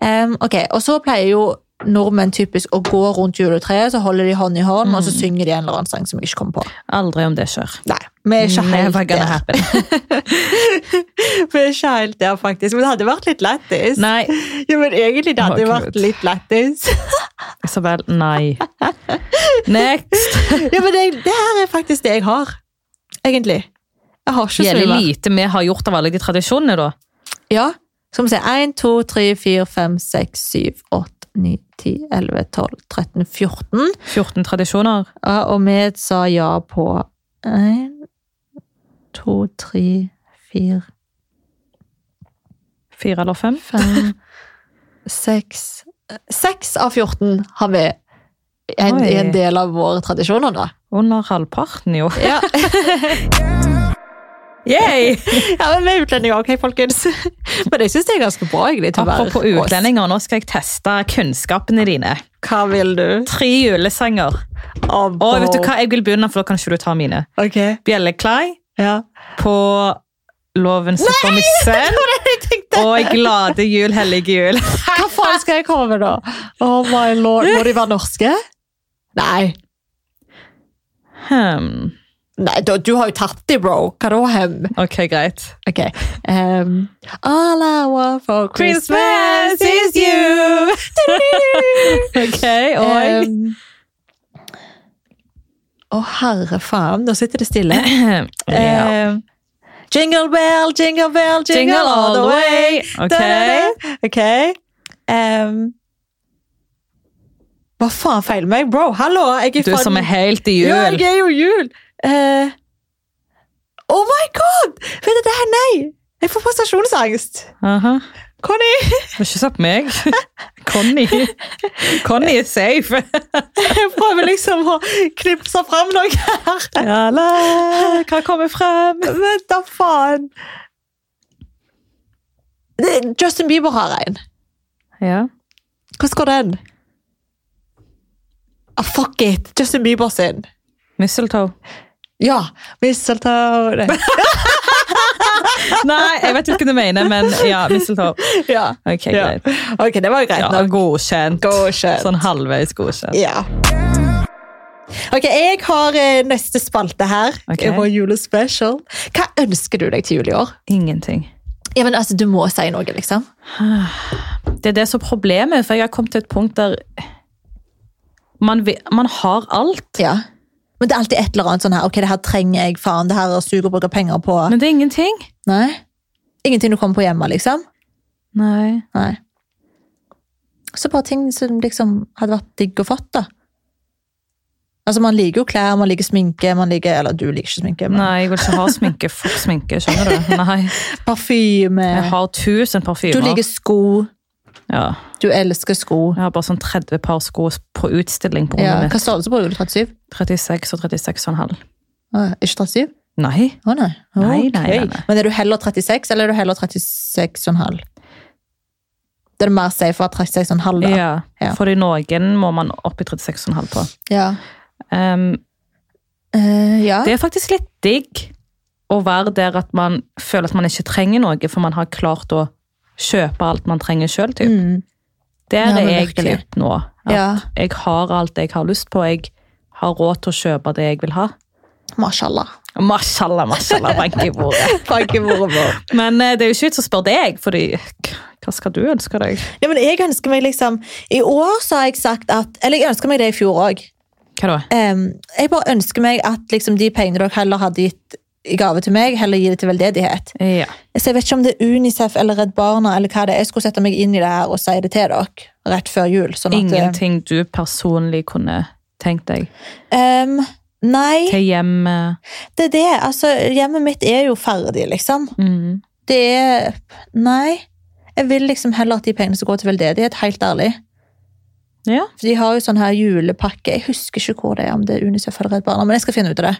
Speaker 1: Em, ok, og så pleier jo nordmenn typisk å gå rundt juletreet, så holder de hånd i hånd, og så synger de en eller annen sang som jeg ikke kommer på.
Speaker 2: Aldri om det skjer.
Speaker 1: Mm. Nei, vi er ikke helt
Speaker 2: Never gonna
Speaker 1: der.
Speaker 2: happen.
Speaker 1: Vi er ikke helt der, faktisk. Men det hadde vært litt lættis.
Speaker 2: Nei,
Speaker 1: Ja, men egentlig, det hadde
Speaker 2: Å,
Speaker 1: vært
Speaker 2: Gud.
Speaker 1: litt lættis.
Speaker 2: Isabel, nei. Next.
Speaker 1: Ja, men det, det her er faktisk det jeg har. egentlig. Jeg har ikke så
Speaker 2: Gjelder
Speaker 1: mye mer.
Speaker 2: lite vi har gjort av alle de tradisjonene, da.
Speaker 1: Ja. Skal vi se. 1, 2, 3, 4, 5, 6, 7, 8, 9, 10, 11, 12, 13, 14.
Speaker 2: 14 tradisjoner.
Speaker 1: Ja, og vi sa ja på 1, 2, 3, 4,
Speaker 2: Fire eller fem.
Speaker 1: 5, 6 6 av 14 har vi en,
Speaker 2: Oi.
Speaker 1: en del av våre tradisjoner nå.
Speaker 2: Under halvparten, jo.
Speaker 1: Ja,
Speaker 2: Yay!
Speaker 1: ja men vi er utlendinger òg, folkens. Men jeg syns det er ganske bra, egentlig. til å være
Speaker 2: Apropos
Speaker 1: oss.
Speaker 2: utlendinger, nå skal jeg teste kunnskapene dine.
Speaker 1: Hva vil du?
Speaker 2: Tre julesanger.
Speaker 1: Å,
Speaker 2: Og vet du hva, jeg vil begynne, for da kan ikke du ta mine.
Speaker 1: Ok,
Speaker 2: Bjelleklei
Speaker 1: ja.
Speaker 2: på Loven som står meg selv,
Speaker 1: Jeg tenkte,
Speaker 2: og Glade jul, hellige jul.
Speaker 1: hva faen skal jeg komme med da? Oh my lord, må de være norske? Nei.
Speaker 2: Hmm.
Speaker 1: Nei, du, du har jo tatt de, bro. Hva da, hem?
Speaker 2: Ok, greit.
Speaker 1: Ok. ehm, All I want for Christmas is you.
Speaker 2: Ok, og
Speaker 1: Ehm, Å, herre faen. Nå sitter det stille.
Speaker 2: ja.
Speaker 1: Ehm, jingle bell, jingle bell, jingle, all the way.
Speaker 2: Ok.
Speaker 1: Da-da-da. Ok. Ehm, hva faen feiler meg, bro? Hallo! Jeg er
Speaker 2: Du
Speaker 1: faen-
Speaker 2: som er helt i
Speaker 1: eh, Ja,
Speaker 2: jul.
Speaker 1: jeg er jo jul! Eh, oh my god! Vet du det her? Nei! Jeg får prestasjonsangst.
Speaker 2: Aha.
Speaker 1: Conny!
Speaker 2: Du har ikke sagt meg. Conny. Conny er safe.
Speaker 1: Jeg prøver liksom å knipse fram noe her.
Speaker 2: Hva kommer frem?
Speaker 1: Vent da, faen! Det- Justin Bieber har en.
Speaker 2: Ja.
Speaker 1: Hvordan går den? Ah, fuck it! Justin Bieber sin.
Speaker 2: Mistletoe.
Speaker 1: Ja! Mistletoe Nei.
Speaker 2: Nei, jeg vet ikke hva du mener, men ja, mistletoe.
Speaker 1: Ja.
Speaker 2: Ok,
Speaker 1: ja.
Speaker 2: greit.
Speaker 1: Ok, det var jo greit
Speaker 2: Ja,
Speaker 1: nok.
Speaker 2: godkjent.
Speaker 1: Godkjent.
Speaker 2: Sånn halvveis godkjent.
Speaker 1: Ja. Ok, jeg har eh, neste spalte her.
Speaker 2: Ok.
Speaker 1: Vår julespecial. Hva ønsker du deg til jul i år?
Speaker 2: Ingenting.
Speaker 1: Ja, men altså, Du må si noe, liksom.
Speaker 2: Det er det som er problemet, for jeg har kommet til et punkt der man, vi- man har alt,
Speaker 1: Ja. Men det er alltid et eller annet sånn her. Ok, det her trenger jeg, faen. Det her suger å bruke penger på.
Speaker 2: men det er ingenting.
Speaker 1: Nei. Ingenting du kommer på hjemme, liksom.
Speaker 2: Nei.
Speaker 1: Nei. Så bare ting som liksom hadde vært digg å fått, da. Altså, man liker jo klær, man liker sminke, man liker Eller du liker ikke sminke, men
Speaker 2: Nei, jeg vil ikke ha sminke. Fuck sminke, skjønner du? Nei.
Speaker 1: parfyme.
Speaker 2: Jeg har tusen
Speaker 1: Du
Speaker 2: parfymer.
Speaker 1: liker sko.
Speaker 2: Ja.
Speaker 1: Du elsker sko.
Speaker 2: Jeg har bare sånn 30 par sko på utstilling på
Speaker 1: Ja,
Speaker 2: rommet
Speaker 1: hva
Speaker 2: mitt.
Speaker 1: størrelse bruker du? 37?
Speaker 2: 36 og 36,5.
Speaker 1: Ah, ikke 37?
Speaker 2: Nei.
Speaker 1: Å nei. Å,
Speaker 2: Nei, nei,
Speaker 1: ok.
Speaker 2: nei, nei.
Speaker 1: Men er du heller 36, eller er du heller 36,5? Det er mer safe å ha 36,5 da.
Speaker 2: Ja.
Speaker 1: Ja.
Speaker 2: Fordi noen må man opp i 36,5 på.
Speaker 1: Ja.
Speaker 2: Um,
Speaker 1: Eh, ja.
Speaker 2: Det er faktisk litt digg å være der at man føler at man ikke trenger noe, for man har klart å kjøpe alt man trenger sjøl. Typ.
Speaker 1: Mm.
Speaker 2: Der
Speaker 1: Ja,
Speaker 2: er
Speaker 1: men
Speaker 2: jeg
Speaker 1: virkelig.
Speaker 2: typ nå. At
Speaker 1: ja.
Speaker 2: Jeg har alt jeg har lyst på. Jeg har råd til å kjøpe det jeg vil ha.
Speaker 1: Mashallah.
Speaker 2: Mashallah, mashallah, bank i bordet.
Speaker 1: Nei,
Speaker 2: Men eh, det er jo ikke vits å spørre deg, fordi k- hva skal du ønske deg?
Speaker 1: men jeg ønsker meg liksom I år så har jeg sagt at Eller jeg ønsker meg det i fjor òg.
Speaker 2: Hva da?
Speaker 1: jeg bare ønsker meg at liksom de pengene dere heller hadde gitt i gave til meg, heller gi det til veldedighet.
Speaker 2: Ja.
Speaker 1: Så jeg vet ikke om det er Unicef eller Redd Barna eller hva det er. Jeg skulle sette meg inn i det her og si det til dere rett før jul. Sånn at,
Speaker 2: Ingenting du personlig kunne tenkt deg
Speaker 1: Ehm, nei,
Speaker 2: til hjemmet.
Speaker 1: det er det. Altså, hjemmet mitt er jo ferdig, liksom.
Speaker 2: Mm.
Speaker 1: Det er Nei. Jeg vil liksom heller at de pengene skal gå til veldedighet, helt ærlig.
Speaker 2: Ja.
Speaker 1: For de har jo sånn her julepakke. Jeg husker ikke hvor det er, om det er Unicef eller Redd Barna, men jeg skal finne ut av det.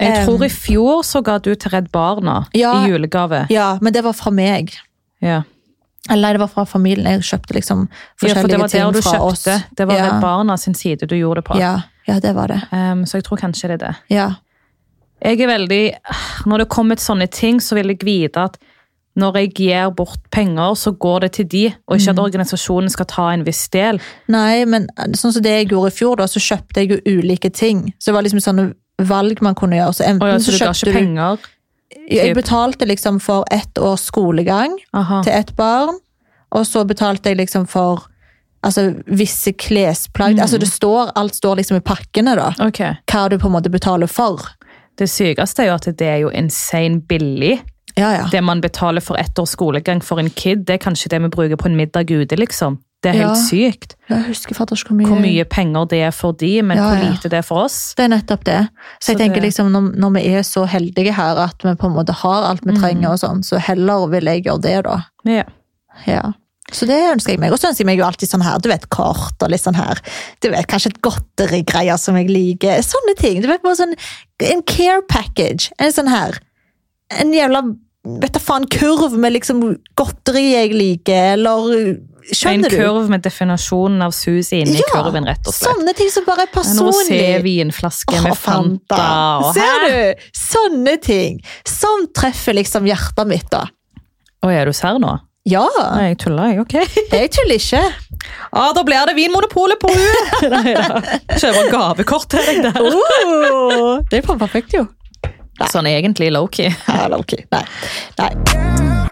Speaker 2: Jeg
Speaker 1: Em,
Speaker 2: tror i fjor så ga du til Redd Barna
Speaker 1: Ja.
Speaker 2: i julegave.
Speaker 1: Ja, men det var fra meg.
Speaker 2: Ja.
Speaker 1: Eller nei, det var fra familien. Jeg kjøpte liksom
Speaker 2: ja, for det
Speaker 1: forskjellige
Speaker 2: var der du
Speaker 1: ting fra
Speaker 2: kjøpte.
Speaker 1: oss.
Speaker 2: Det var
Speaker 1: ja.
Speaker 2: Redd Barna sin side du gjorde det på.
Speaker 1: Ja, ja, det var det.
Speaker 2: Ehm, så jeg tror kanskje det er det.
Speaker 1: Ja.
Speaker 2: Jeg er veldig, ah, Når det kommer til sånne ting, så vil jeg vite at når jeg gir bort penger, så går det til de, og ikke at
Speaker 1: Mm.
Speaker 2: organisasjonen skal ta en viss del.
Speaker 1: Nei, men sånn som det jeg gjorde i fjor, da, så kjøpte jeg jo ulike ting. Så det var liksom sånne valg man kunne gjøre. Så enten
Speaker 2: Og ja,
Speaker 1: så,
Speaker 2: så du ga
Speaker 1: kjøpte
Speaker 2: ikke
Speaker 1: du
Speaker 2: penger.
Speaker 1: Jeg betalte liksom for ett års skolegang
Speaker 2: Aha.
Speaker 1: til ett barn, og så betalte jeg liksom for altså, visse klesplagg. Altså det står, alt står liksom i pakkene, da.
Speaker 2: Ok.
Speaker 1: Hva du på en måte betaler for.
Speaker 2: Det sykeste er jo at det er jo insane billig.
Speaker 1: Ja, ja.
Speaker 2: Det man betaler for ett års skolegang for en kid, det er kanskje det vi bruker på en middag ute, liksom. Det er helt
Speaker 1: Ja.
Speaker 2: sykt
Speaker 1: Jeg husker fatter ikke hvor mye.
Speaker 2: hvor mye penger det er for de, men
Speaker 1: Ja,
Speaker 2: hvor
Speaker 1: ja.
Speaker 2: lite det er for oss.
Speaker 1: Det er nettopp det. Så jeg
Speaker 2: Så
Speaker 1: tenker
Speaker 2: det-
Speaker 1: liksom, når, når vi er så heldige her at vi på en måte har alt vi trenger, og sånn, så heller vil jeg gjøre det, da.
Speaker 2: Ja.
Speaker 1: Ja. Så det ønsker jeg meg. Og så ønsker jeg meg jo alltid sånn her, du vet, kort og litt sånn her. Du vet, Kanskje et godterigreier som jeg liker. Sånne ting. Du vet, bare sånn En care package. En sånn her En jævla vet du faen, kurv med liksom godteri jeg liker, eller
Speaker 2: En
Speaker 1: Skjønner du?
Speaker 2: kurv med definasjonen av sus inni
Speaker 1: Ja,
Speaker 2: kurven, rett og slett.
Speaker 1: Sånne ting som bare er
Speaker 2: En
Speaker 1: personlig.
Speaker 2: rosévinflaske
Speaker 1: Åh,
Speaker 2: med Fanta. og-
Speaker 1: Ser du? Sånne ting. Som treffer liksom hjertet mitt, da.
Speaker 2: Å, er du serr nå?
Speaker 1: Ja,
Speaker 2: Nei, jeg tuller, jeg. Ok.
Speaker 1: jeg tuller ikke.
Speaker 2: Ja, Ah, da blir det Vinmonopolet på henne! Nei da. Kjøper gavekort til deg der.
Speaker 1: Oh, det er perfekt, jo.
Speaker 2: Sånn egentlig low-key.
Speaker 1: Ja, eller ok. Nei. Nei.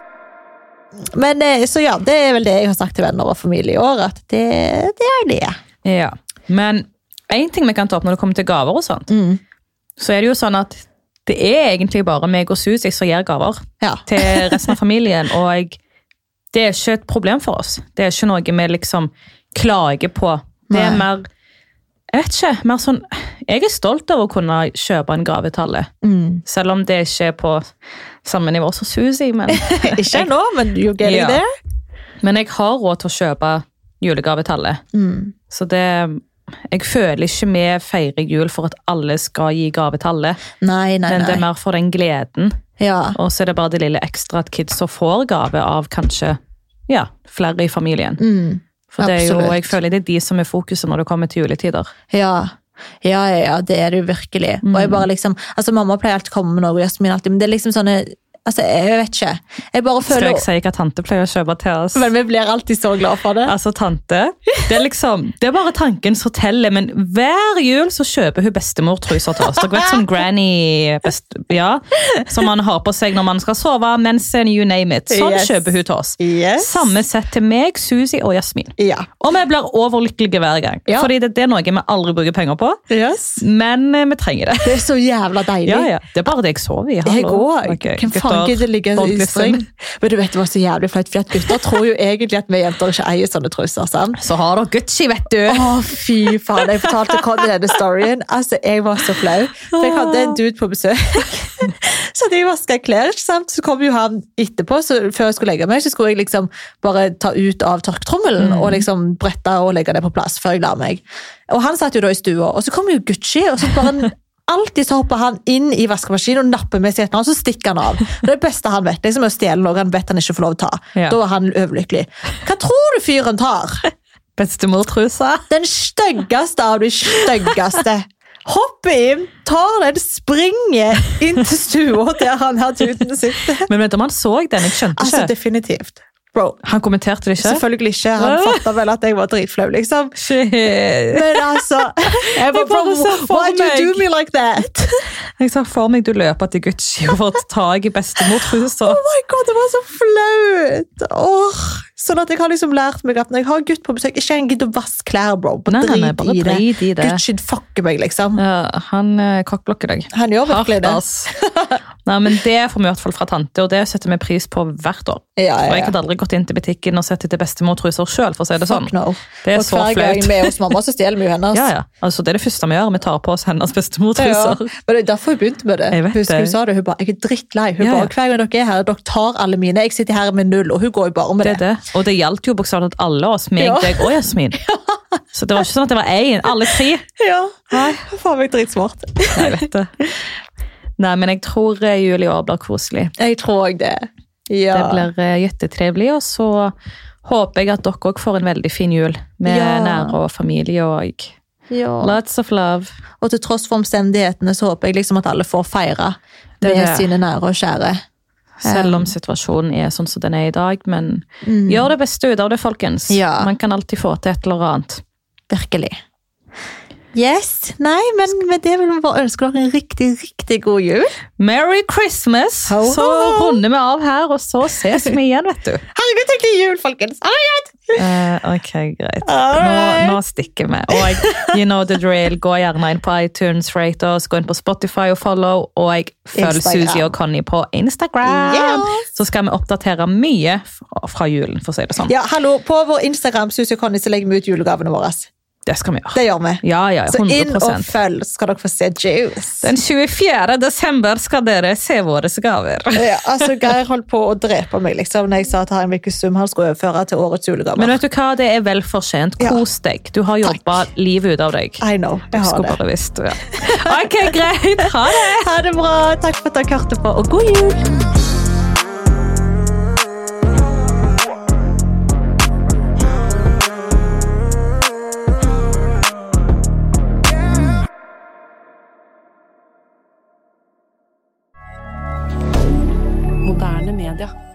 Speaker 1: Men eh, så ja, det er vel det jeg har sagt til venner og familie i år, at det, det er det.
Speaker 2: Ja. Men én ting vi kan ta opp når det kommer til gaver, og sånt, så er det jo sånn at det er egentlig bare meg og Susi som gir gaver
Speaker 1: Ja.
Speaker 2: til resten av familien. Og jeg, det er ikke et problem for oss. Det er ikke noe vi liksom klager på. Det er
Speaker 1: Nei.
Speaker 2: mer jeg vet ikke, mer sånn, jeg er stolt av å kunne kjøpe en gave til alle.
Speaker 1: Mm.
Speaker 2: Selv om det ikke er på samme nivå som Susi. Men
Speaker 1: Ikke nå, men you getting
Speaker 2: Ja.
Speaker 1: there.
Speaker 2: Men jeg har råd til å kjøpe julegave til alle.
Speaker 1: Mm.
Speaker 2: Så det Jeg føler ikke vi feirer jul for at alle skal gi gave til alle.
Speaker 1: Nei, nei,
Speaker 2: Men det er
Speaker 1: nei.
Speaker 2: mer for den gleden.
Speaker 1: Ja.
Speaker 2: Og så er det bare det lille ekstra at kidsa får gave av kanskje ja, flere i familien.
Speaker 1: Mm.
Speaker 2: For det er jo,
Speaker 1: absolutt.
Speaker 2: jeg føler det er de som er fokuset når det kommer til juletider.
Speaker 1: Ja. Ja, ja, ja, det er det jo virkelig. Og jeg bare liksom, altså Mamma pleier alltid å komme med noe, Jasmin alltid, men det er liksom sånne altså Jeg vet ikke. Jeg bare
Speaker 2: Skal
Speaker 1: føler
Speaker 2: jeg si hva tante pleier å kjøpe til oss?
Speaker 1: Men vi blir alltid så glad for det.
Speaker 2: Altså, tante. Det er liksom, det er bare tanken som teller, men hver jul så kjøper hun bestemortruser til oss. Dere vet sånn granny best, ja, som man har på seg når man skal sove, mensen, you name it. Sånn
Speaker 1: Yes.
Speaker 2: kjøper hun til oss.
Speaker 1: Yes.
Speaker 2: Samme sett til meg, Susi og Jasmin.
Speaker 1: Ja.
Speaker 2: Og vi blir overlykkelige hver gang,
Speaker 1: Ja.
Speaker 2: fordi det, det er noe vi aldri bruker penger på, men eh, vi trenger det.
Speaker 1: Det er så jævla deilig.
Speaker 2: Ja, ja. Det er bare det jeg sover i.
Speaker 1: Jeg
Speaker 2: hallo.
Speaker 1: òg.
Speaker 2: Ok,
Speaker 1: Hvem faen
Speaker 2: gutter,
Speaker 1: gidder ligge
Speaker 2: don't
Speaker 1: i
Speaker 2: listen.
Speaker 1: streng? Men du vet, det var så jævlig flaut, for at gutter tror jo egentlig at vi jenter ikke eier sånne truser. sant?
Speaker 2: Så har dere Gucci, vet du.
Speaker 1: Å, fy faen. Jeg fortalte Conny denne storyen. Altså, Jeg var så flau. For jeg hadde en dude på besøk. Så hadde jeg vaska klær, ikke sant? så kom jo han etterpå. Så før jeg skulle legge meg, så skulle jeg liksom bare ta ut av tørketrommelen og liksom brette og legge det på plass før jeg la meg. Og han satt jo da i stua, og så kom jo Gucci, og så bare Alltid så hopper han inn i vaskemaskinen og napper med seg et eller annet, så stikker han av. Det er det beste han vet. liksom å stjele noe han vet han ikke får lov til å ta.
Speaker 2: Ja.
Speaker 1: Da er han overlykkelig. Hva tror du fyren tar?
Speaker 2: Bestemortrusa.
Speaker 1: Den styggeste av de styggeste. Hopper inn, tar den, springer inn til stua der han har duden sitter.
Speaker 2: Men vet du om han så den? Jeg skjønte
Speaker 1: Altså,
Speaker 2: ikke.
Speaker 1: definitivt. Bro,
Speaker 2: Han kommenterte det ikke?
Speaker 1: selvfølgelig ikke. Han fatta vel at jeg var dritflau, liksom.
Speaker 2: Shit.
Speaker 1: Men altså jeg bare,
Speaker 2: Jeg bare ser for
Speaker 1: Why do you do me like that?
Speaker 2: Jeg sa for meg du løper til Gucci og får tak i bestemortrusa.
Speaker 1: Oh my god, det var så flaut! Åh, Sånn at jeg har liksom lært meg at når jeg har gutt på besøk, ikke gidd å vaske klær, bro. Bare
Speaker 2: Nei, nei, nei, bare
Speaker 1: drit i
Speaker 2: drit i
Speaker 1: det.
Speaker 2: det.
Speaker 1: Gucci fucker meg, liksom.
Speaker 2: Ja, han eh, kokkblokker deg.
Speaker 1: Han gjør
Speaker 2: Hardt,
Speaker 1: virkelig det.
Speaker 2: ass. Nei, men det får vi i hvert fall fra tante, og det setter vi pris på hvert år.
Speaker 1: Ja,
Speaker 2: Og
Speaker 1: ja,
Speaker 2: jeg
Speaker 1: ja.
Speaker 2: hadde aldri gått inn til butikken og sett etter bestemortruser sjøl, for å si det sånn.
Speaker 1: Fuck no.
Speaker 2: Det er
Speaker 1: og
Speaker 2: så
Speaker 1: hver gang
Speaker 2: flaut.
Speaker 1: vi er hos mamma, så stjeler vi jo hennes.
Speaker 2: Ja, ja. Altså, det er det første vi gjør, vi tar på oss hennes
Speaker 1: Ja, ja.
Speaker 2: bestemortruser.
Speaker 1: Men det er derfor hun begynte med det.
Speaker 2: Jeg vet
Speaker 1: Husker
Speaker 2: det.
Speaker 1: hun sa det, hun bare, jeg er drittlei. Hun
Speaker 2: Ja, ja.
Speaker 1: bare, hver gang dere er her, dere tar alle mine, jeg sitter her med null, og hun går jo bare med
Speaker 2: Det
Speaker 1: det.
Speaker 2: er det. Og det gjaldt jo bokstavelig talt alle oss, meg,
Speaker 1: Ja.
Speaker 2: deg og Jasmin. Så det var ikke sånn at det var én, alle tre.
Speaker 1: Ja, nei, faen meg dritsmart.
Speaker 2: Nei, jeg vet det. Nei, men jeg tror eh, jul i år blir koselig.
Speaker 1: Jeg tror også det. Ja.
Speaker 2: Det blir eh, jättetrevlig, og så håper jeg at dere òg får en veldig fin jul med
Speaker 1: Ja.
Speaker 2: nære og familie og
Speaker 1: ja.
Speaker 2: lots of love.
Speaker 1: Og til tross for omstendighetene, så håper jeg liksom at alle får feire
Speaker 2: Det er
Speaker 1: med
Speaker 2: det.
Speaker 1: sine nære og kjære.
Speaker 2: Selv om situasjonen er sånn som den er i dag, men gjør det beste ut av det, folkens.
Speaker 1: Ja.
Speaker 2: Man kan alltid få til et eller annet.
Speaker 1: Virkelig. Yes, nei, men med det vil vi bare ønske dere en riktig, riktig god jul.
Speaker 2: Merry Christmas!
Speaker 1: Ho, ho,
Speaker 2: Så
Speaker 1: ho.
Speaker 2: runder vi av her, og så ses vi igjen, vet du.
Speaker 1: Herregud, tenk til jul, folkens! Ha det godt!
Speaker 2: Eh, ok, greit.
Speaker 1: Alright.
Speaker 2: Nå, nå stikker vi. Og you know the drill. Gå gjerne inn på iTunes, rate oss, gå inn på Spotify og follow. Og følg
Speaker 1: Instagram.
Speaker 2: Suzy og Conny på Instagram.
Speaker 1: Yes.
Speaker 2: Så skal vi oppdatere mye fra- fra julen, for å si det sånn.
Speaker 1: Ja, hallo, På vår Instagram Susie og Conny, så legger vi ut julegavene våre.
Speaker 2: Det skal vi gjøre.
Speaker 1: Det gjør vi.
Speaker 2: Ja, ja,
Speaker 1: Så inn og
Speaker 2: 100
Speaker 1: følg, så skal dere få se juice.
Speaker 2: Den 24. desember skal dere se våre gaver.
Speaker 1: Ja, altså, Geir holdt på å drepe meg liksom, når jeg sa at her er en ukes sum han skulle overføre til årets
Speaker 2: Men
Speaker 1: julegaver.
Speaker 2: vet du hva, det er vel fortjent.
Speaker 1: Ja.
Speaker 2: Kos deg. Du har
Speaker 1: Takk.
Speaker 2: jobba livet ut av deg.
Speaker 1: I know,
Speaker 2: Du
Speaker 1: jeg har
Speaker 2: skulle
Speaker 1: det.
Speaker 2: bare visst. Ja. Ok, greit. Ha det!
Speaker 1: Ha det bra. Takk for at dere hørte på, og god jul!
Speaker 3: Moderne media.